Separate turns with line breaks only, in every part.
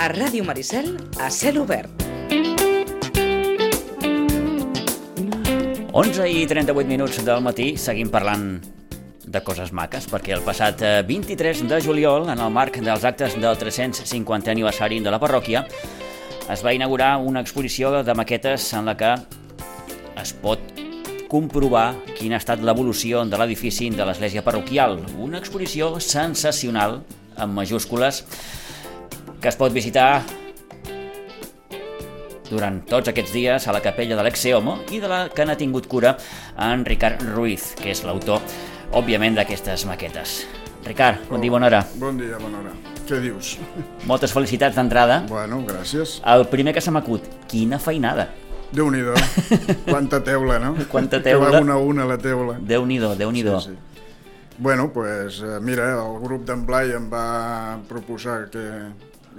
A Ràdio Maricel, a cel obert.
11 i 38 minuts del matí, seguim parlant de coses maques, perquè el passat eh, 23 de juliol, en el marc dels actes del 350 aniversari de la parròquia, es va inaugurar una exposició de maquetes en la que es pot comprovar quina ha estat l'evolució de l'edifici de l'església parroquial. Una exposició sensacional, amb majúscules, que es pot visitar durant tots aquests dies a la capella de l'Exeomo i de la que n'ha tingut cura en Ricard Ruiz, que és l'autor, òbviament, d'aquestes maquetes. Ricard, bon dia, bona hora.
Bon dia, bona hora. Què dius?
Moltes felicitats d'entrada.
Bueno, gràcies.
El primer que se m'acut, quina feinada.
Déu-n'hi-do. Quanta teula, no?
Quanta
Que
teula.
va una a una la teula.
Déu-n'hi-do, Déu-n'hi-do.
Sí, sí. Bueno, doncs, pues, eh, mira, el grup d'en Blai em va proposar que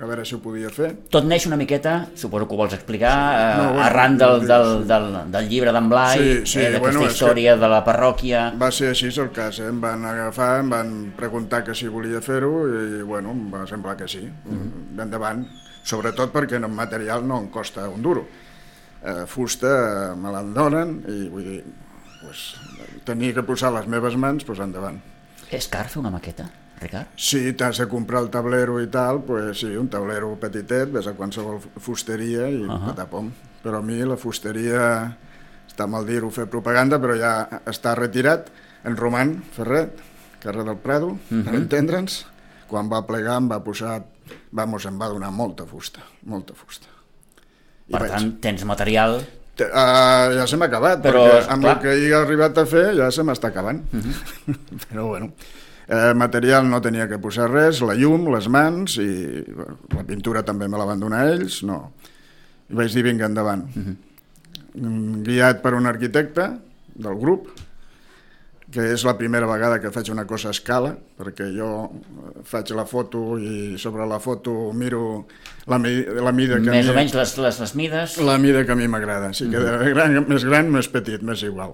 a veure si ho podia fer.
Tot neix una miqueta, suposo que ho vols explicar, eh,
No, bueno,
arran del,
sí,
del, del, del llibre d'en Blai,
Sí, sí,
eh, d'aquesta
bueno, és que-
història de la parròquia...
Va ser així el cas, eh? em van agafar, em van preguntar que si volia fer-ho i, bueno, em va semblar que sí, d'endavant. Sobretot perquè el material no em costa un duro. Eh, fusta eh, me la donen i, vull dir, pues, tenia que posar les meves mans, doncs endavant.
És car fer una maqueta, Ricard?
Si t'has de comprar el tablero i tal, pues sí, un tablero petitet, ves a qualsevol fusteria i uh -huh. patapom. Però a mi la fusteria, està mal dir-ho, fer propaganda, però ja està retirat, en Roman Ferret, carrer del Prado, uh -huh.
Mhm.
per entendre'ns, quan va plegar em va posar, vamos, em va donar molta fusta, molta fusta. I
Per
vaig-
tant, tens material...
Te- Uh, ja se m'ha acabat,
Però,
però, perquè amb
clar. Mhm.
el que hi ha arribat a fer ja se m'està acabant. Uh -huh. però bueno, eh, material no tenia que posar res, la llum, les mans, i bueno, la pintura també me la van donar ells, no. I vaig dir, vinga, endavant. Uh
Mhm.
-huh. Guiat per un arquitecte del grup, que és la primera vegada que faig una cosa a escala, perquè jo eh, faig la foto i sobre la foto miro la, mi la mida que...
Més
m'he-
o menys les, les, les mides...
la mida que a mi m'agrada, sí que de gran, més gran, més petit, més igual.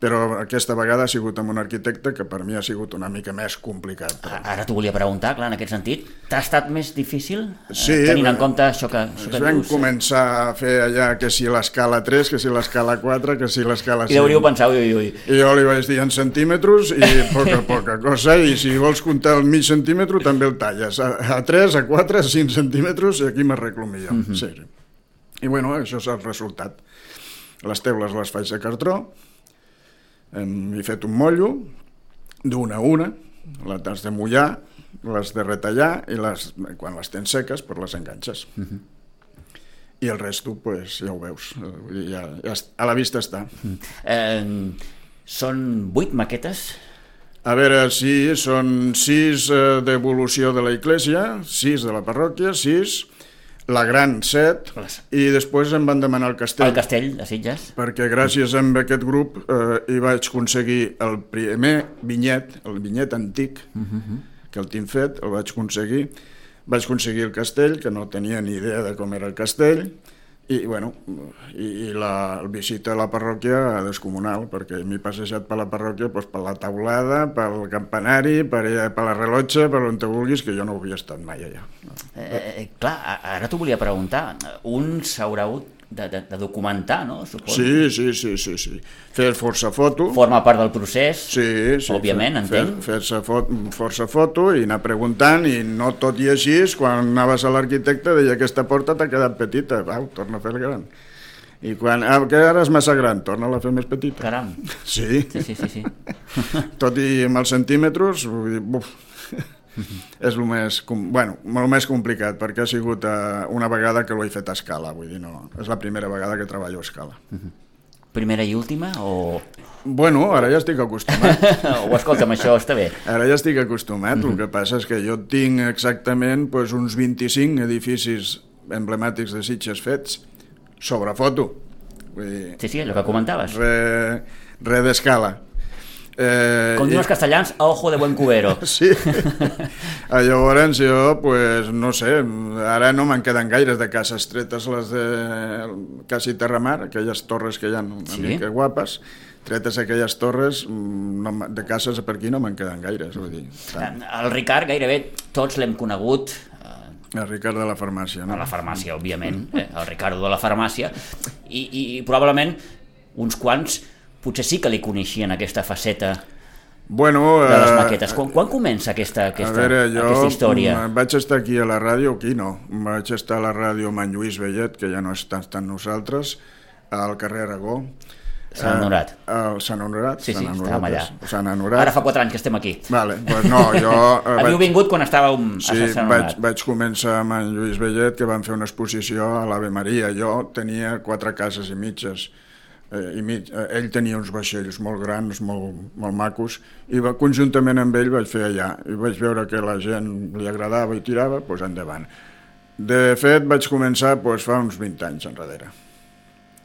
Però aquesta vegada ha sigut amb un arquitecte que per mi ha sigut una mica més complicat.
A- Ara t'ho volia preguntar, clar, en aquest sentit. T'ha estat més difícil? eh,
Sí,
Tenint en
bé.
compte això que, això
Es
que
van
dius.
començar a fer allà que si l'escala 3, que si l'escala 4, que si l'escala
I deuríeu
5.
pensar, ui, ui, ui.
I jo li vaig dir en centímetres i poca, poca cosa, i si vols comptar el mig centímetre també el talles. A, a 3, a 4, a 5 centímetres i aquí m'arreglo millor. Mm -hmm. sí, sí. I bueno, això és el resultat. Les teules les faig de cartró, hem, he fet un motllo d'una a una, les has de mullar, les de retallar i les, quan les tens seques pues les enganxes. Mm -hmm. I el resto, pues, ja ho veus, eh, vull dir, ja, ja, es- a la vista està.
Eh, són vuit maquetes?
A veure, sí, són sis eh, d'evolució de la Iglesia, sis de la parròquia, sis, la gran, set,
Les-
i després em van demanar el castell,
Al castell de Sitges?
perquè gràcies a aquest grup eh, hi vaig aconseguir el primer vinyet, el vinyet antic, que el tinc fet, el vaig aconseguir, vaig aconseguir el castell, que no tenia ni idea de com era el castell, i, bueno, i, i la el visita a la parròquia descomunal, perquè m'he passejat per la parròquia doncs, per la taulada, pel campanari, per, eh, per la rellotge, per on te vulguis, que jo no havia estat mai allà.
Eh, clar, a- ara t'ho volia preguntar. Un s'haurà de, de, de documentar, no? Suposo.
Sí, sí, sí, sí, sí. Fer força foto.
Forma part del procés?
Sí, sí.
Òbviament,
fer,
entenc.
Fer, fer-se fot, força foto i anar preguntant i no tot i així, quan anaves a l'arquitecte deia aquesta porta t'ha quedat petita, au, torna a fer gran. I quan, ah, que ara és massa gran, torna-la a fer més petita.
Caram.
Sí,
Sí, sí, sí. sí.
tot i amb els centímetres, vull dir, buf, és el més, com, bueno, el més complicat, perquè ha sigut eh, una vegada que l'he fet a escala, vull dir, no, és la primera vegada que treballo a escala.
Primera i última o...
Bueno, ara ja estic acostumat.
o escolta'm, això està bé.
Ara ja estic acostumat, el que passa és que jo tinc exactament doncs, uns 25 edificis emblemàtics de Sitges fets sobre foto. Vull dir,
Sí, sí, allò que comentaves.
re, re d'escala. Eh,
Com
i-
diuen els castellans, a ojo de buen cubero.
Sí. Ah, Llavors jo, pues, no sé, ara no me'n queden gaires de cases tretes les de quasi Terramar, aquelles torres que hi ha una
Sí.
sí. mica guapes, tretes aquelles torres, mm, no, me- de cases per aquí no me'n queden gaires, vull dir. tant.
El Ricard gairebé tots l'hem conegut eh,
El Ricard de la farmàcia,
a
no?
la farmàcia, òbviament, eh, el Ricardo de la farmàcia, i, i, i probablement uns quants potser sí que li coneixien aquesta faceta
Bueno,
de les
eh,
maquetes. Quan, quan comença aquesta,
a
aquesta,
veure, jo
aquesta història?
mm, vaig estar aquí a la ràdio, aquí no, vaig estar a la ràdio amb en Lluís Bellet, que ja no està tant nosaltres, al carrer Aragó.
Sant
Eh,
Honorat.
al Sant Honorat.
Sí, sí,
Sant Honorat,
estàvem allà.
és- Sant Honorat.
Ara fa 4 anys que estem aquí.
Vale, pues no, jo... eh,
Havíeu vingut quan estàvem
Sí,
a Sant
vaig,
Honorat.
vaig començar amb en Lluís Bellet, que van fer una exposició a l'Ave Maria. Jo tenia quatre cases i mitges. Eh, i mig, eh, ell tenia uns vaixells molt grans, molt, molt macos, i va, conjuntament amb ell vaig fer allà. I vaig veure que la gent li agradava i tirava, doncs endavant. De fet, vaig començar doncs, fa uns 20 anys enrere,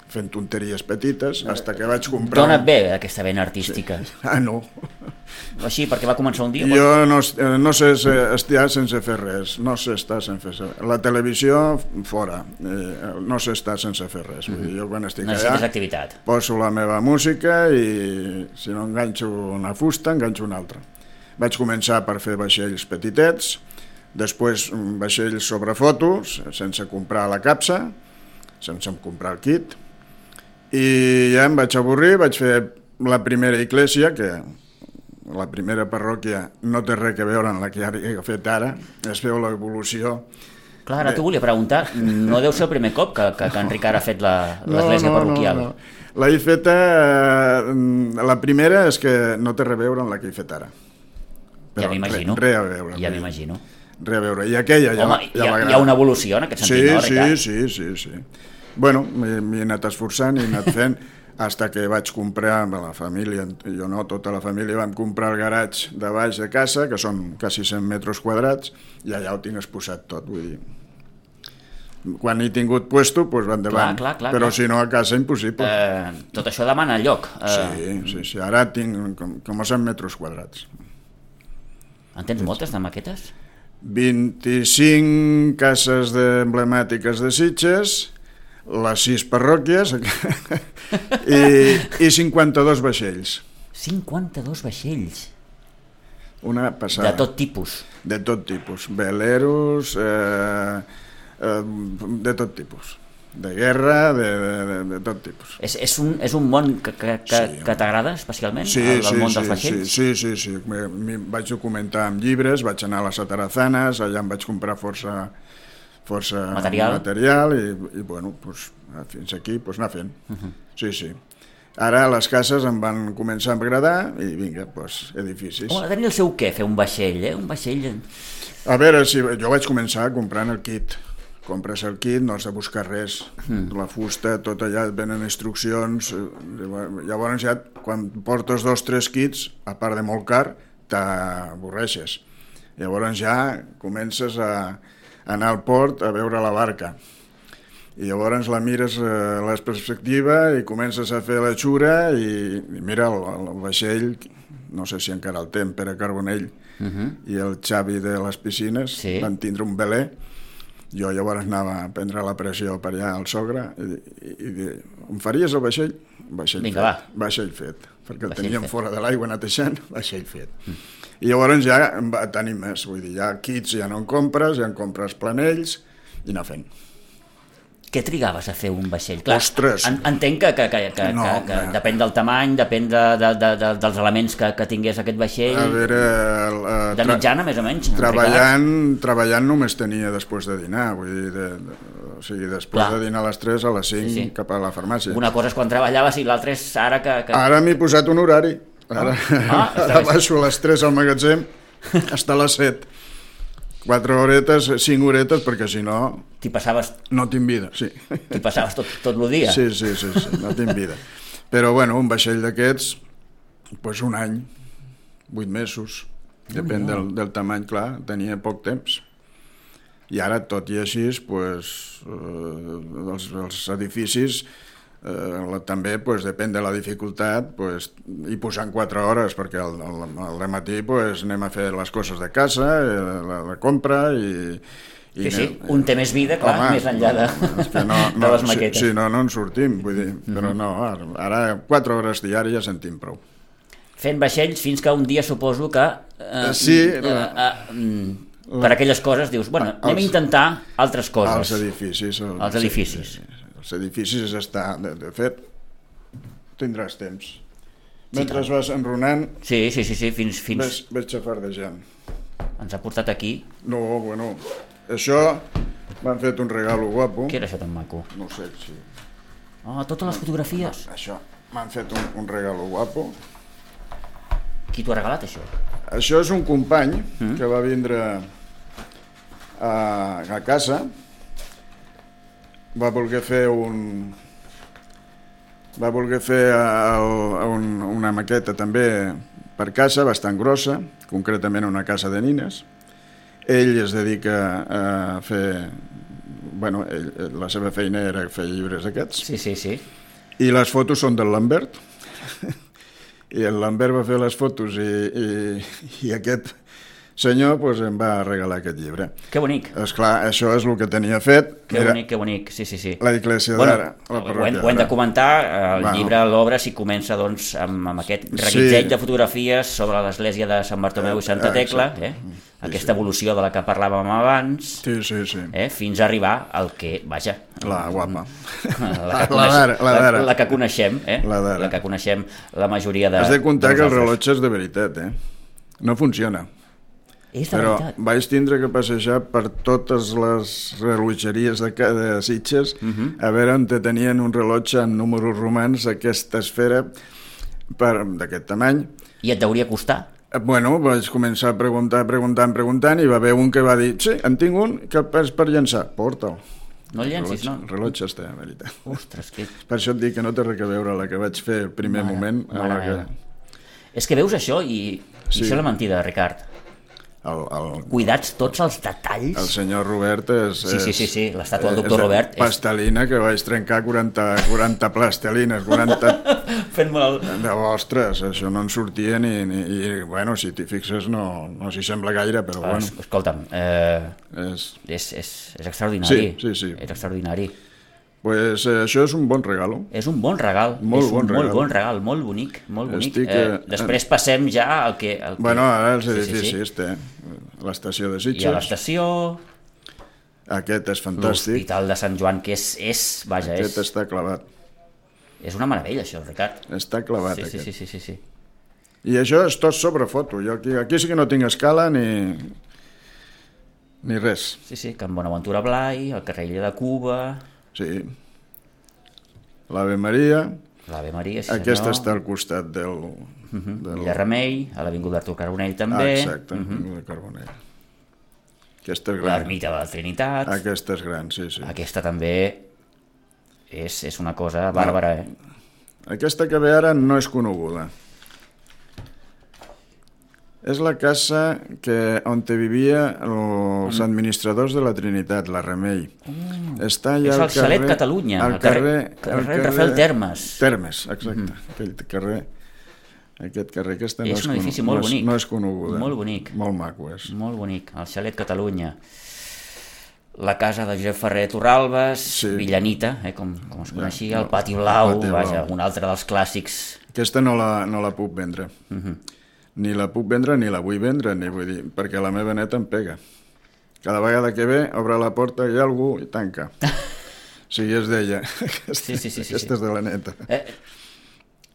fent tonteries petites, fins que vaig comprar...
Dona't bé aquesta vena artística.
Ah, no.
Així, perquè va començar un dia... quan-
Jo no, es- eh, no sé se- estar sense fer res, no sé estar sense fer res. La televisió, f- fora, eh, no sé estar sense fer res. Vull dir, jo eh? quan estic
Necessites
allà
activitat.
poso la meva música i si no enganxo una fusta, enganxo una altra. Vaig començar per fer vaixells petitets, després mm, vaixells sobre fotos, sense comprar la capsa, sense comprar el kit, i ja em vaig avorrir, vaig fer la primera iglesia, que la primera parròquia no té res a veure amb la que he fet ara, es veu l'evolució.
Clar, ara t'ho volia preguntar. No deu ser el primer cop que, que, que en Ricard ha fet la- l'església parroquial.
no. La he feta... eh, mm, La primera és que no té res a veure amb la que he fet ara.
Ja m'imagino.
Res, res a veure.
Ja
vull dir,
m'imagino.
Res a veure. I aquella ja,
Home,
va-
hi ha,
va
hi ha
agradar.
una evolució en aquest sentit,
sí,
no, Ricard?
Sí, sí, sí, sí. Bueno, m'he m'he anat esforçant i he anat fent hasta que vaig comprar amb la família, jo no, tota la família vam comprar el garatge de baix de casa, que són quasi 100 metres quadrats, i allà ho tinc exposat tot, vull dir. Quan he tingut puesto, doncs va endavant.
clar, clar,
Però
clar.
si no, a casa impossible.
Eh, tot això demana lloc. Eh,
Sí, sí, sí, ara tinc com, com 100 metres quadrats.
En tens moltes de maquetes?
25 cases de emblemàtiques de Sitges, les 6 parròquies i, i 52 vaixells.
52 vaixells
Una passada.
de tot tipus.
De tot tipus. Veleros, eh, eh, de tot tipus. De guerra, de, de, de, de tot tipus.
És, és, un, és un món que, que, que,
Sí,
que t'agrada especialment, el, el món dels
sí,
vaixells?
sí, sí, sí. Me- me- Vaig documentar amb llibres, vaig anar a les atarazanes, allà em vaig comprar força força
Material.
material i, i bueno, doncs, fins aquí doncs anar fent. Uh
Uh-huh.
-huh. Sí, sí. Ara les cases em van començar a agradar i vinga, doncs, edificis.
Home, ha de tenir el seu què, fer un vaixell, eh? Un vaixell...
A veure, si jo vaig començar comprant el kit. Compres el kit, no has de buscar res. Mm. La fusta, tot allà, et venen instruccions. eh, Llavors ja, quan portes dos, tres kits, a part de molt car, t'avorreixes. Llavors ja comences a anar al port a veure la barca. I llavors la mires eh, la perspectiva i comences a fer la xura i, i mira el, el vaixell, no sé si encara el té, en Pere Carbonell uh -huh. i el Xavi de les piscines
Sí.
van tindre un veler. Jo llavors anava a prendre la pressió per allà al sogre i, i, i dir, em faries el vaixell? Vaixell
Vinga,
fet.
va.
Vaixell fet. Perquè el
Vaixell
teníem
fet.
fora de l'aigua netejant, vaixell fet. I llavors ja em va tenir més, vull dir, ja kits ja no en compres, ja en compres planells i anar fent.
Què trigaves a fer un vaixell? Clar,
Ostres.
En, entenc que, que, que, que,
No,
que, que
no.
depèn del tamany, depèn de, de, de, de, dels elements que, que tingués aquest vaixell,
A veure, el, eh,
de
tra-
mitjana, més o menys. en Ricard.
treballant, treballant només tenia després de dinar, vull dir, de, de, o sigui, després
Clar.
de dinar a les 3, a les 5,
Sí, sí.
cap a la farmàcia.
Una cosa és quan treballaves i l'altra és ara que... que...
Ara m'he posat un horari. Ara,
Ah, està
ara
bé.
baixo a les 3 al magatzem, està a les 7. 4 horetes, 5 horetes, perquè si no,
T'hi passaves,
no tinc vida, sí.
t'hi passaves tot, tot el dia.
Sí, sí, sí, sí, no tinc vida. Però, bueno, un vaixell d'aquests, doncs un any, vuit mesos, depèn del, del tamany, clar, tenia poc temps. I ara, tot i així, doncs, eh, els, els edificis, eh, la, també pues, depèn de la dificultat, pues, hi posant quatre hores, perquè al, al, al matí pues, anem a fer les coses de casa, eh, la, la compra i... i
Sí, sí,
anem-
un té més vida, clar,
Home,
més enllà de,
és que no, no,
de les maquetes. Mhm.
Sí, sí, no, no en sortim, vull dir, però no, ara, ara quatre hores diàries en tinc prou.
Fent vaixells fins que un dia suposo que... Eh,
Sí, Ah,
eh, eh, mm, per aquelles coses dius, bueno, anem a
Els- Ah,
intentar altres
Els
coses.
edificis. El,
Els edificis.
Sí, sí, sí. Els edificis està... De, de fet, tindràs temps. Mentre vas enronant,
Sí, sí, sí, sí fins, fins
ves, ves xafardejant.
ens ha portat aquí.
No, bueno, això m'han fet un regalo guapo.
Què era això tan maco?
No ho sé si...
Oh, totes les fotografies.
Això, m'han fet un, un regalo guapo.
Qui t'ho ha regalat, això?
Això és un company mm. que va vindre a, a casa, va voler fer un... Va voler fer eh, el, un, una maqueta també per casa, bastant grossa, concretament una casa de nines. Ell es dedica a fer... Bueno, ell, la seva feina era fer llibres aquests.
Sí, sí, sí.
I les fotos són del Lambert. I el Lambert va fer les fotos i, i, i aquest senyor pues, em va regalar aquest llibre.
Que bonic.
És clar, això és el que tenia fet.
Que bonic, que bonic, sí, sí, sí.
la Iglesia d'ara, la
ho, hem,
parròquia
ho hem de
d'ara.
comentar, eh, el
Bueno.
llibre, l'obra, si comença doncs, amb, amb aquest reguitzell
Sí.
de fotografies sobre l'església de Sant Bartomeu i Santa
Ah,
Tecla,
exacte.
eh? aquesta evolució de la que parlàvem abans,
Sí, sí, sí.
eh? fins a arribar al que, vaja,
La guapa.
la, que
La
coneix,
d'ara, la d'ara.
la que coneixem, eh?
La d'ara.
la que coneixem la majoria de...
Has de comptar
de
que el
nosaltres.
rellotge és de veritat, eh? No funciona.
És de
Però
veritat.
vaig tindre que passejar per totes les rellotgeries de, ca- de Sitges a veure on te tenien un rellotge amb números romans d'aquesta esfera per- d'aquest tamany
I et deuria costar.
Eh, Bueno, vaig començar a preguntar, preguntant, preguntant i va haver un que va dir, sí, en tinc un que és per llançar, porta'l.
No el llencis,
Rellotge-
no?
El rellotge està, de veritat.
Ostres, que...
Per això et dic que no té res a veure la que vaig fer el primer
Mare-
moment a
mare
la que...
meva. És que veus això i, sí. i
Sí.
això és la mentida, Ricard.
El, el,
Cuidats tots els detalls.
el senyor Robert és...
Sí, sí, sí, sí, l'estàtua del
és-
doctor
és
Robert és-
Pastelina, que vaig trencar 40, 40 plastelines, 40...
Fent-me el...
De ostres, això no en sortia ni... ni i, bueno, si t'hi fixes no, no s'hi sembla gaire, però
Bueno.
bueno,
Ah, Escolta'm, eh,
és...
és, és, és extraordinari.
Sí, sí, sí.
És extraordinari.
Pues, eh, això és un bon regalo.
És un bon regal. és
Molt
un
bon
molt
regal.
bon regal, molt bonic, molt bonic.
Estic,
eh,
eh,
després passem ja al que... Al que...
Bueno, ara els
Sí, sí,
edificis
sí.
té l'estació
I
de
a
Sitges,
l'estació,
aquest és fantàstic,
l'Hospital eh? de Sant Joan, que és, és vaja,
aquest
és,
està clavat,
és una meravella, això, Ricard.
està clavat
Sí, sí, sí,
aquest.
sí, sí, sí.
I això és tot sobre foto, jo aquí, aquí sí que no tinc escala ni, ni res,
Sí, sí, Can Bonaventura Blai, el carrer Illa de Cuba,
sí. L'Ave Maria,
l'Ave Maria, sí
aquesta
senyor.
està al costat del... del...
Villa Remei, a l'Avinguda Artur Carbonell
Ah,
també, Mhm.
exacte, de Carbonell. Aquesta és gran,
l'Ermita de la Trinitat,
aquesta és gran, sí, sí.
aquesta també és, és una cosa bàrbara, eh?
Aquesta que ve ara no és coneguda. És la casa que, on te vivia
Mm.
els administradors de la Trinitat, la Remei. Està allà
Oh. És
al
el Salet
carrer-
Catalunya,
Al
el carrer-
carrer,
carrer Rafael Termes.
Termes, exacte. Aquell carrer, aquest carrer, aquesta no
Mhm. És
és,
un edifici molt
cono- no és,
bonic.
No és coneguda.
Molt bonic.
Molt maco, és.
Molt bonic, el Xalet Catalunya. La casa de Josep Ferrer Torralbes, sí.
Sí.
Villanita, eh, com, com es coneixia, el Pati Blau,
Pati Blau.
vaja, un altre dels clàssics.
Aquesta no la, no la puc vendre.
Mhm.
Ni la puc vendre ni la vull vendre, ni vull dir, perquè la meva neta em pega. Cada vegada que ve, obre la porta, hi ha algú i tanca. O sigui, és d'ella. Aquesta,
Sí, sí, sí, sí, sí.
Aquesta és de la neta.
Eh,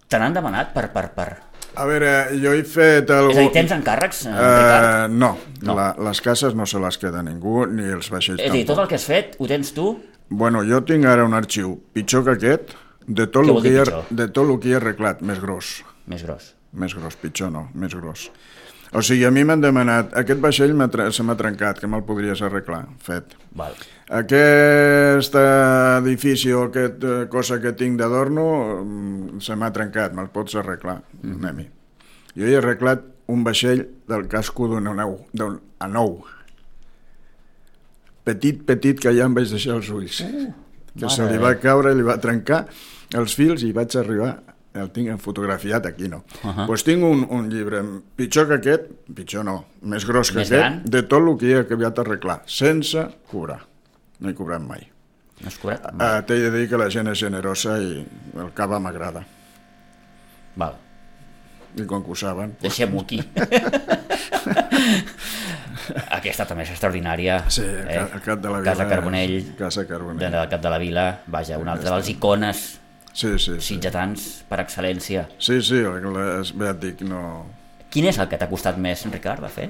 te n'han demanat per... per, per...
A veure, jo he fet... Algú...
És a dir, tens encàrrecs, eh, Ricard?
Uh, no,
No.
no. La, les cases no se les queda ningú, ni els vaixells
És a dir,
tampoc.
tot el que has fet ho tens tu?
Bueno, jo tinc ara un arxiu pitjor que aquest, de tot,
Què
el
vol
que,
dir
hi ha,
pitjor?
de tot el que hi ha arreglat, més gros.
Més gros.
Més gros, pitjor no, més gros. O sigui, a mi m'han demanat, aquest vaixell m'ha tre- se m'ha trencat, que me'l podries arreglar, fet.
Val.
Aquest edifici o aquest eh, cosa que tinc d'adorno mm, se m'ha trencat, me'l pots arreglar, mm. a mi. Jo he arreglat un vaixell del casco d'un nou, d'un a nou. Petit, petit, que ja em vaig deixar els ulls. Uh, que se
Oh, mare
li
de
va caure, li va trencar els fils i vaig arribar el tinc fotografiat, aquí no. Doncs uh -huh. pues tinc un, un llibre pitjor que aquest, pitjor no, més gros que
Més
aquest,
gran?
de tot el que he acabat d'arreglar, sense cobrar. No he cobrat mai.
No has cobrat?
Ah, T'he de dir que la gent és generosa i el cava m'agrada.
Val.
I com que ho saben...
Deixem-ho aquí. Aquesta també és extraordinària. Eh?
Sí, el ca- el Cat de la
Casa
Vila
Carbonell.
és- Casa Carbonell.
De, del Cap de la Vila. Vaja, una altra de les icones
Sí, sí, sí.
sitgetans per excel·lència.
Sí, sí, la, la, ja et dic, no...
Quin és el que t'ha costat més, Ricard, de fer?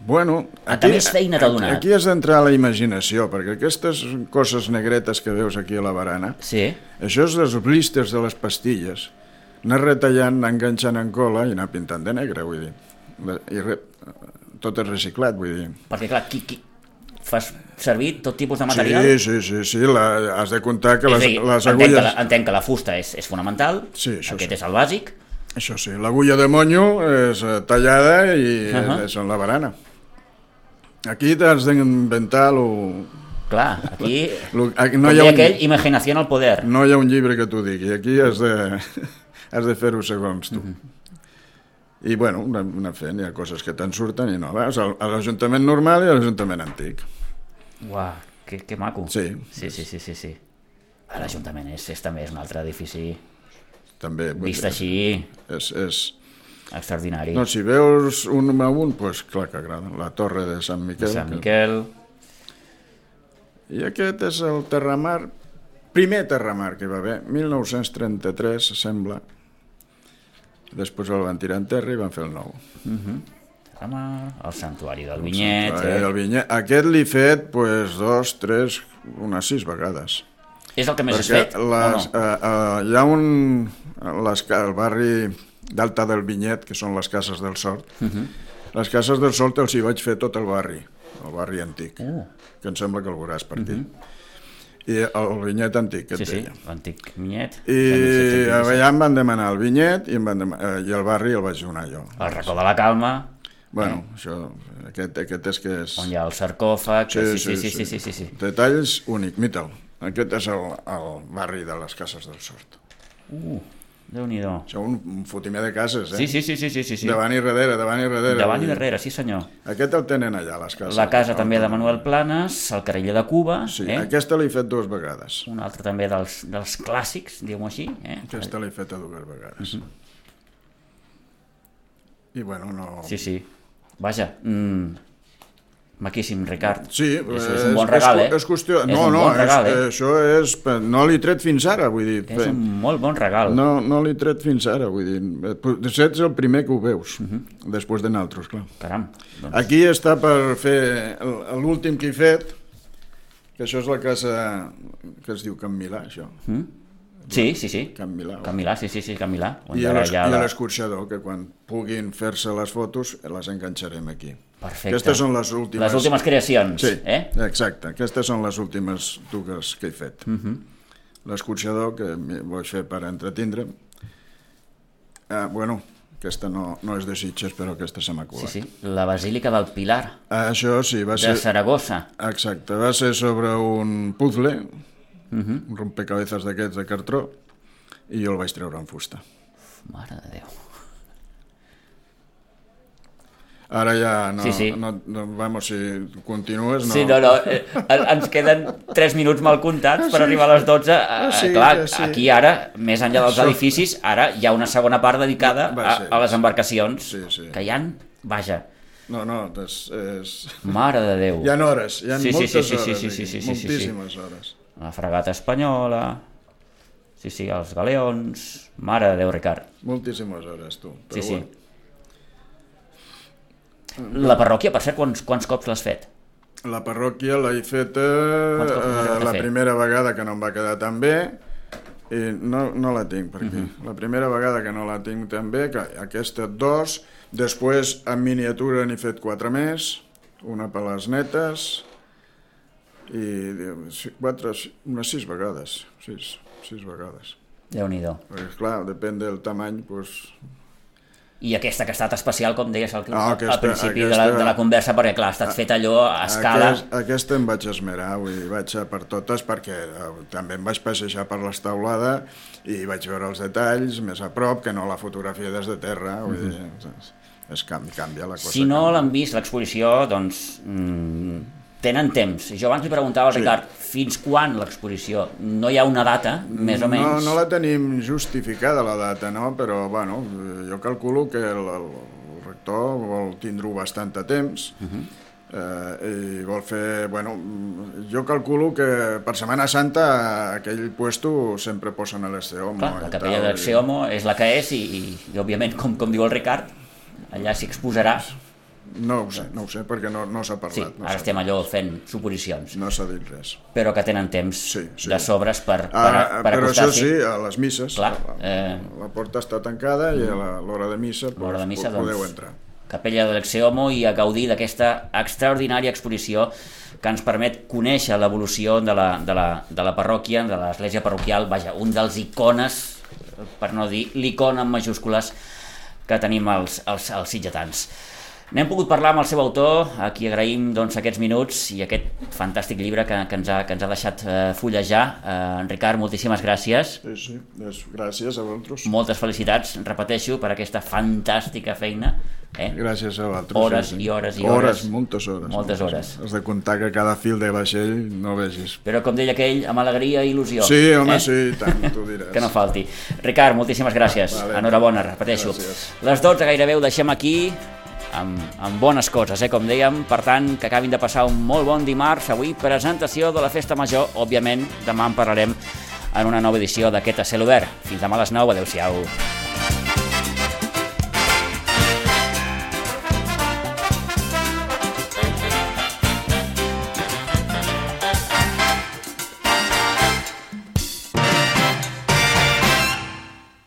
Bueno,
Ah, també és feina t'ha donat.
Aquí has d'entrar a la imaginació, perquè aquestes coses negretes que veus aquí a la barana,
Sí.
això és dels blisters de les pastilles. Anar retallant, anar enganxant en cola i anar pintant de negre, vull dir. La- I re... tot és reciclat, vull dir.
Perquè, clar, qui, qui... fas servir tot tipus de material?
Sí, sí, sí, sí, la, has de comptar que
És a
les,
dir, entenc,
les
que
agulles...
la, entenc que la fusta és, és fonamental,
Sí, això
aquest
sí.
és el bàsic,
Això sí, l'agulla de monyo és eh, tallada i uh
Ahà.
-huh. és en la barana. Aquí t'has d'inventar... Lo...
clar, aquí...
Lo... aquí
No
No,
hi
hi ha un...
aquell, imaginació al poder.
no hi ha un llibre que t'ho digui, aquí has de, has de fer-ho segons
Mm-hmm.
tu. I bueno, anar- anar fent, hi ha coses que te'n surten i no. Vas al- a l'Ajuntament normal i a l'Ajuntament antic.
Uau, que, que maco.
Sí.
Sí, sí, sí, sí, sí. A l'Ajuntament és, és també és un altre edifici
També, vull
vist
dir,
així,
és, és...
extraordinari.
No, si veus un a un, doncs clar que agrada. La torre de Sant Miquel.
Sant
que-
Miquel...
I aquest és el terramar, primer terramar que hi va haver, 1933, sembla. Després el van tirar en terra i van fer el nou.
Ramar, el santuari del Vinyet...
Eh, el vinyet. Aquest l'he fet pues, dos, tres, unes sis vegades.
Eh? És el que més has
Perquè
fet?
les,
o no?
eh, eh, hi ha un... Les, ca- el barri d'Alta del Vinyet, que són les cases del Sort,
Mhm.
les cases del Sort els hi vaig fer tot el barri, el barri antic,
Uh.
que em sembla que el veuràs per aquí. I el Vinyet antic, que et
Mhm. Sí, sí,
deia.
l'antic Vinyet...
I
del 1727.
allà em van demanar el vinyet i, em van demanar, eh, i el barri el vaig donar jo.
El racó de la calma,
Bueno, això, aquest, aquest és que és...
on hi ha el sarcòfag... Sí, sí, sí, sí, sí, sí, sí, sí.
Detalls únic, mira-te'l. Aquest és el, el barri de les cases del sort.
Uh, Déu-n'hi-do.
Això un, un fotimer de cases, eh?
Sí, sí, sí, sí, sí, sí, sí.
Davant i darrere, davant i darrere.
Davant i
vull dir.
darrere, sí senyor.
Aquest el tenen allà, les cases.
La casa també de
El-
Manuel Planes, el carriller de Cuba,
Sí,
eh?
aquesta l'he fet dues vegades.
un altre també dels, dels clàssics, diguem-ho així. Eh?
Aquesta l'he fet dues vegades.
Mhm.
I bueno, no...
Sí, sí. Vaja, mm, maquíssim, Ricard.
Sí,
és, és un bon regal,
és,
eh?
És qüestió...
És
No,
un
no,
bon regal,
és,
eh?
això és... per- No l'he tret fins ara, vull dir...
És un molt bon regal.
No, no l'he tret fins ara, vull dir... eh, Ets el primer que ho veus,
Mhm.
després de naltros, clar.
Caram, doncs,
Aquí està per fer el- l'últim que he fet, que això és la casa que es diu Can Milà, això.
sí, sí, sí.
Can Milà.
Mhm. Can Milà, sí, sí, sí, Can Milà. On
I a
ara
l'es-
hi ha
i a
la-
l'escorxador, que quan puguin fer-se les fotos les enganxarem aquí.
Perfecte.
Aquestes són les últimes...
les últimes creacions,
Sí,
eh?
exacte. Aquestes són les últimes dues que he fet. Uh
Mhm.
-huh. L'escorxador, que m'hi vaig fer per entretindre'm. Ah, bueno, aquesta no, no és de Sitges, però aquesta se m'ha
Sí,
colat.
sí. La Basílica del Pilar,
Ah, això sí, va
de
ser...
Saragossa.
Exacte, va ser sobre un puzzle, uh
Mhm.
-huh. un rompecabezes d'aquests de cartró, i jo el vaig treure en fusta.
Mare de Déu.
Ara ja no...
Sí, sí.
no, no vamos, si continues... No.
Sí, no, no, eh, en- ens queden 3 minuts mal comptats per arribar a les 12. Eh,
Ah, sí,
clar,
ja sí.
aquí ara, més enllà dels edificis, ara hi ha una segona part dedicada
Va,
a,
sí,
a les embarcacions
Sí, sí.
que hi han, vaja,
No, no, és... és...
mare de Déu.
Hi ha hores, hi ha
Sí, sí,
moltes
sí, sí, sí,
hores,
sí, sí,
aquí,
sí, sí, sí, sí.
moltíssimes hores.
La fregata espanyola, sí, sí, els galeons, mare de Déu, Ricard.
Moltíssimes hores, tu. Però
Sí, sí.
Bueno,
La parròquia, per cert, quants, quants cops l'has fet?
la parròquia l'he feta
Quants cops l'has
eh,
hagut de
la
fer?
primera vegada que no em va quedar tan bé i no, no la tinc per aquí.
Mhm.
La primera vegada que no la tinc tan bé, que aquesta dos, després en miniatura n'he fet quatre més, una per les netes i diu, sí, quatre, sí, unes sis vegades, sis, sis vegades.
Déu-n'hi-do.
Perquè, clar, depèn del tamany, doncs,
I aquesta que ha estat especial, com deies al,
Ah, aquesta-
al principi de, la,
aquesta-
de la conversa, perquè clar, ha estat fet allò a escala...
Aquest, aquesta em vaig esmerar, vull dir, vaig a per totes perquè eh, també em vaig passejar per l'estaulada i vaig veure els detalls més a prop que no la fotografia des de terra, vull dir, és, és canvi, canvia la cosa.
Si no
canvia.
l'han vist, l'exposició, doncs... Mm, tenen temps. Jo abans li preguntava al
Sí.
Ricard, fins quan l'exposició? No hi ha una data, més o menys?
No, no la tenim justificada la data, no? però bueno,
Mhm.
eh, jo calculo que el, el, el rector vol tindre-ho bastant a temps, eh, i vol fer... Bueno, jo calculo que per Setmana Santa aquell puesto sempre posen a l'Esteomo.
Clar,
i
la
tal,
capella
i-
d'Axeomo és la que és i, i, i òbviament, com, com diu el Ricard, allà s'hi exposarà.
No ho sé, no ho sé, perquè no, no s'ha
Sí,
parlat. no
ara
s'ha-
estem allò fent suposicions,
No s'ha dit res.
però que tenen temps
Sí, sí.
de sobres per, per,
Ah,
per
però això
acostar-s'hi.
sí, a les misses,
Clar,
la,
eh.
la porta està tancada i a la- l'hora de missa,
A l'hora de missa,
podeu
doncs,
entrar.
capella de l'Axeomo i a gaudir d'aquesta extraordinària exposició que ens permet conèixer l'evolució de, la, de, la, de la parròquia, de l'església parroquial, vaja, un dels icones, per no dir l'icona en majúscules, que tenim els, els, els sitgetans. N'hem pogut parlar amb el seu autor, a qui agraïm doncs, aquests minuts i aquest fantàstic llibre que, que, ens, ha, que ens ha deixat eh, fullejar. Eh, en Ricard, moltíssimes gràcies.
Sí, sí, doncs, gràcies a vosaltres.
Moltes felicitats, repeteixo, per aquesta fantàstica feina. Eh?
Gràcies a vosaltres.
Hores
sí, sí.
i hores i
hores.
hores.
moltes hores.
Moltes hores.
Has de comptar que cada fil de vaixell no vegis.
Però com deia aquell, amb alegria i il·lusió.
Sí, home, eh? sí, i tant, tu diràs.
Que no falti. Ricard, moltíssimes gràcies.
Vale.
Enhorabona, repeteixo.
Gràcies.
Les 12 gairebé ho deixem aquí amb, amb bones coses, eh, com dèiem. Per tant, que acabin de passar un molt bon dimarts. Avui, presentació de la Festa Major. Òbviament, demà en parlarem en una nova edició d'aquest a cel obert. Fins demà a les 9. Adéu-siau.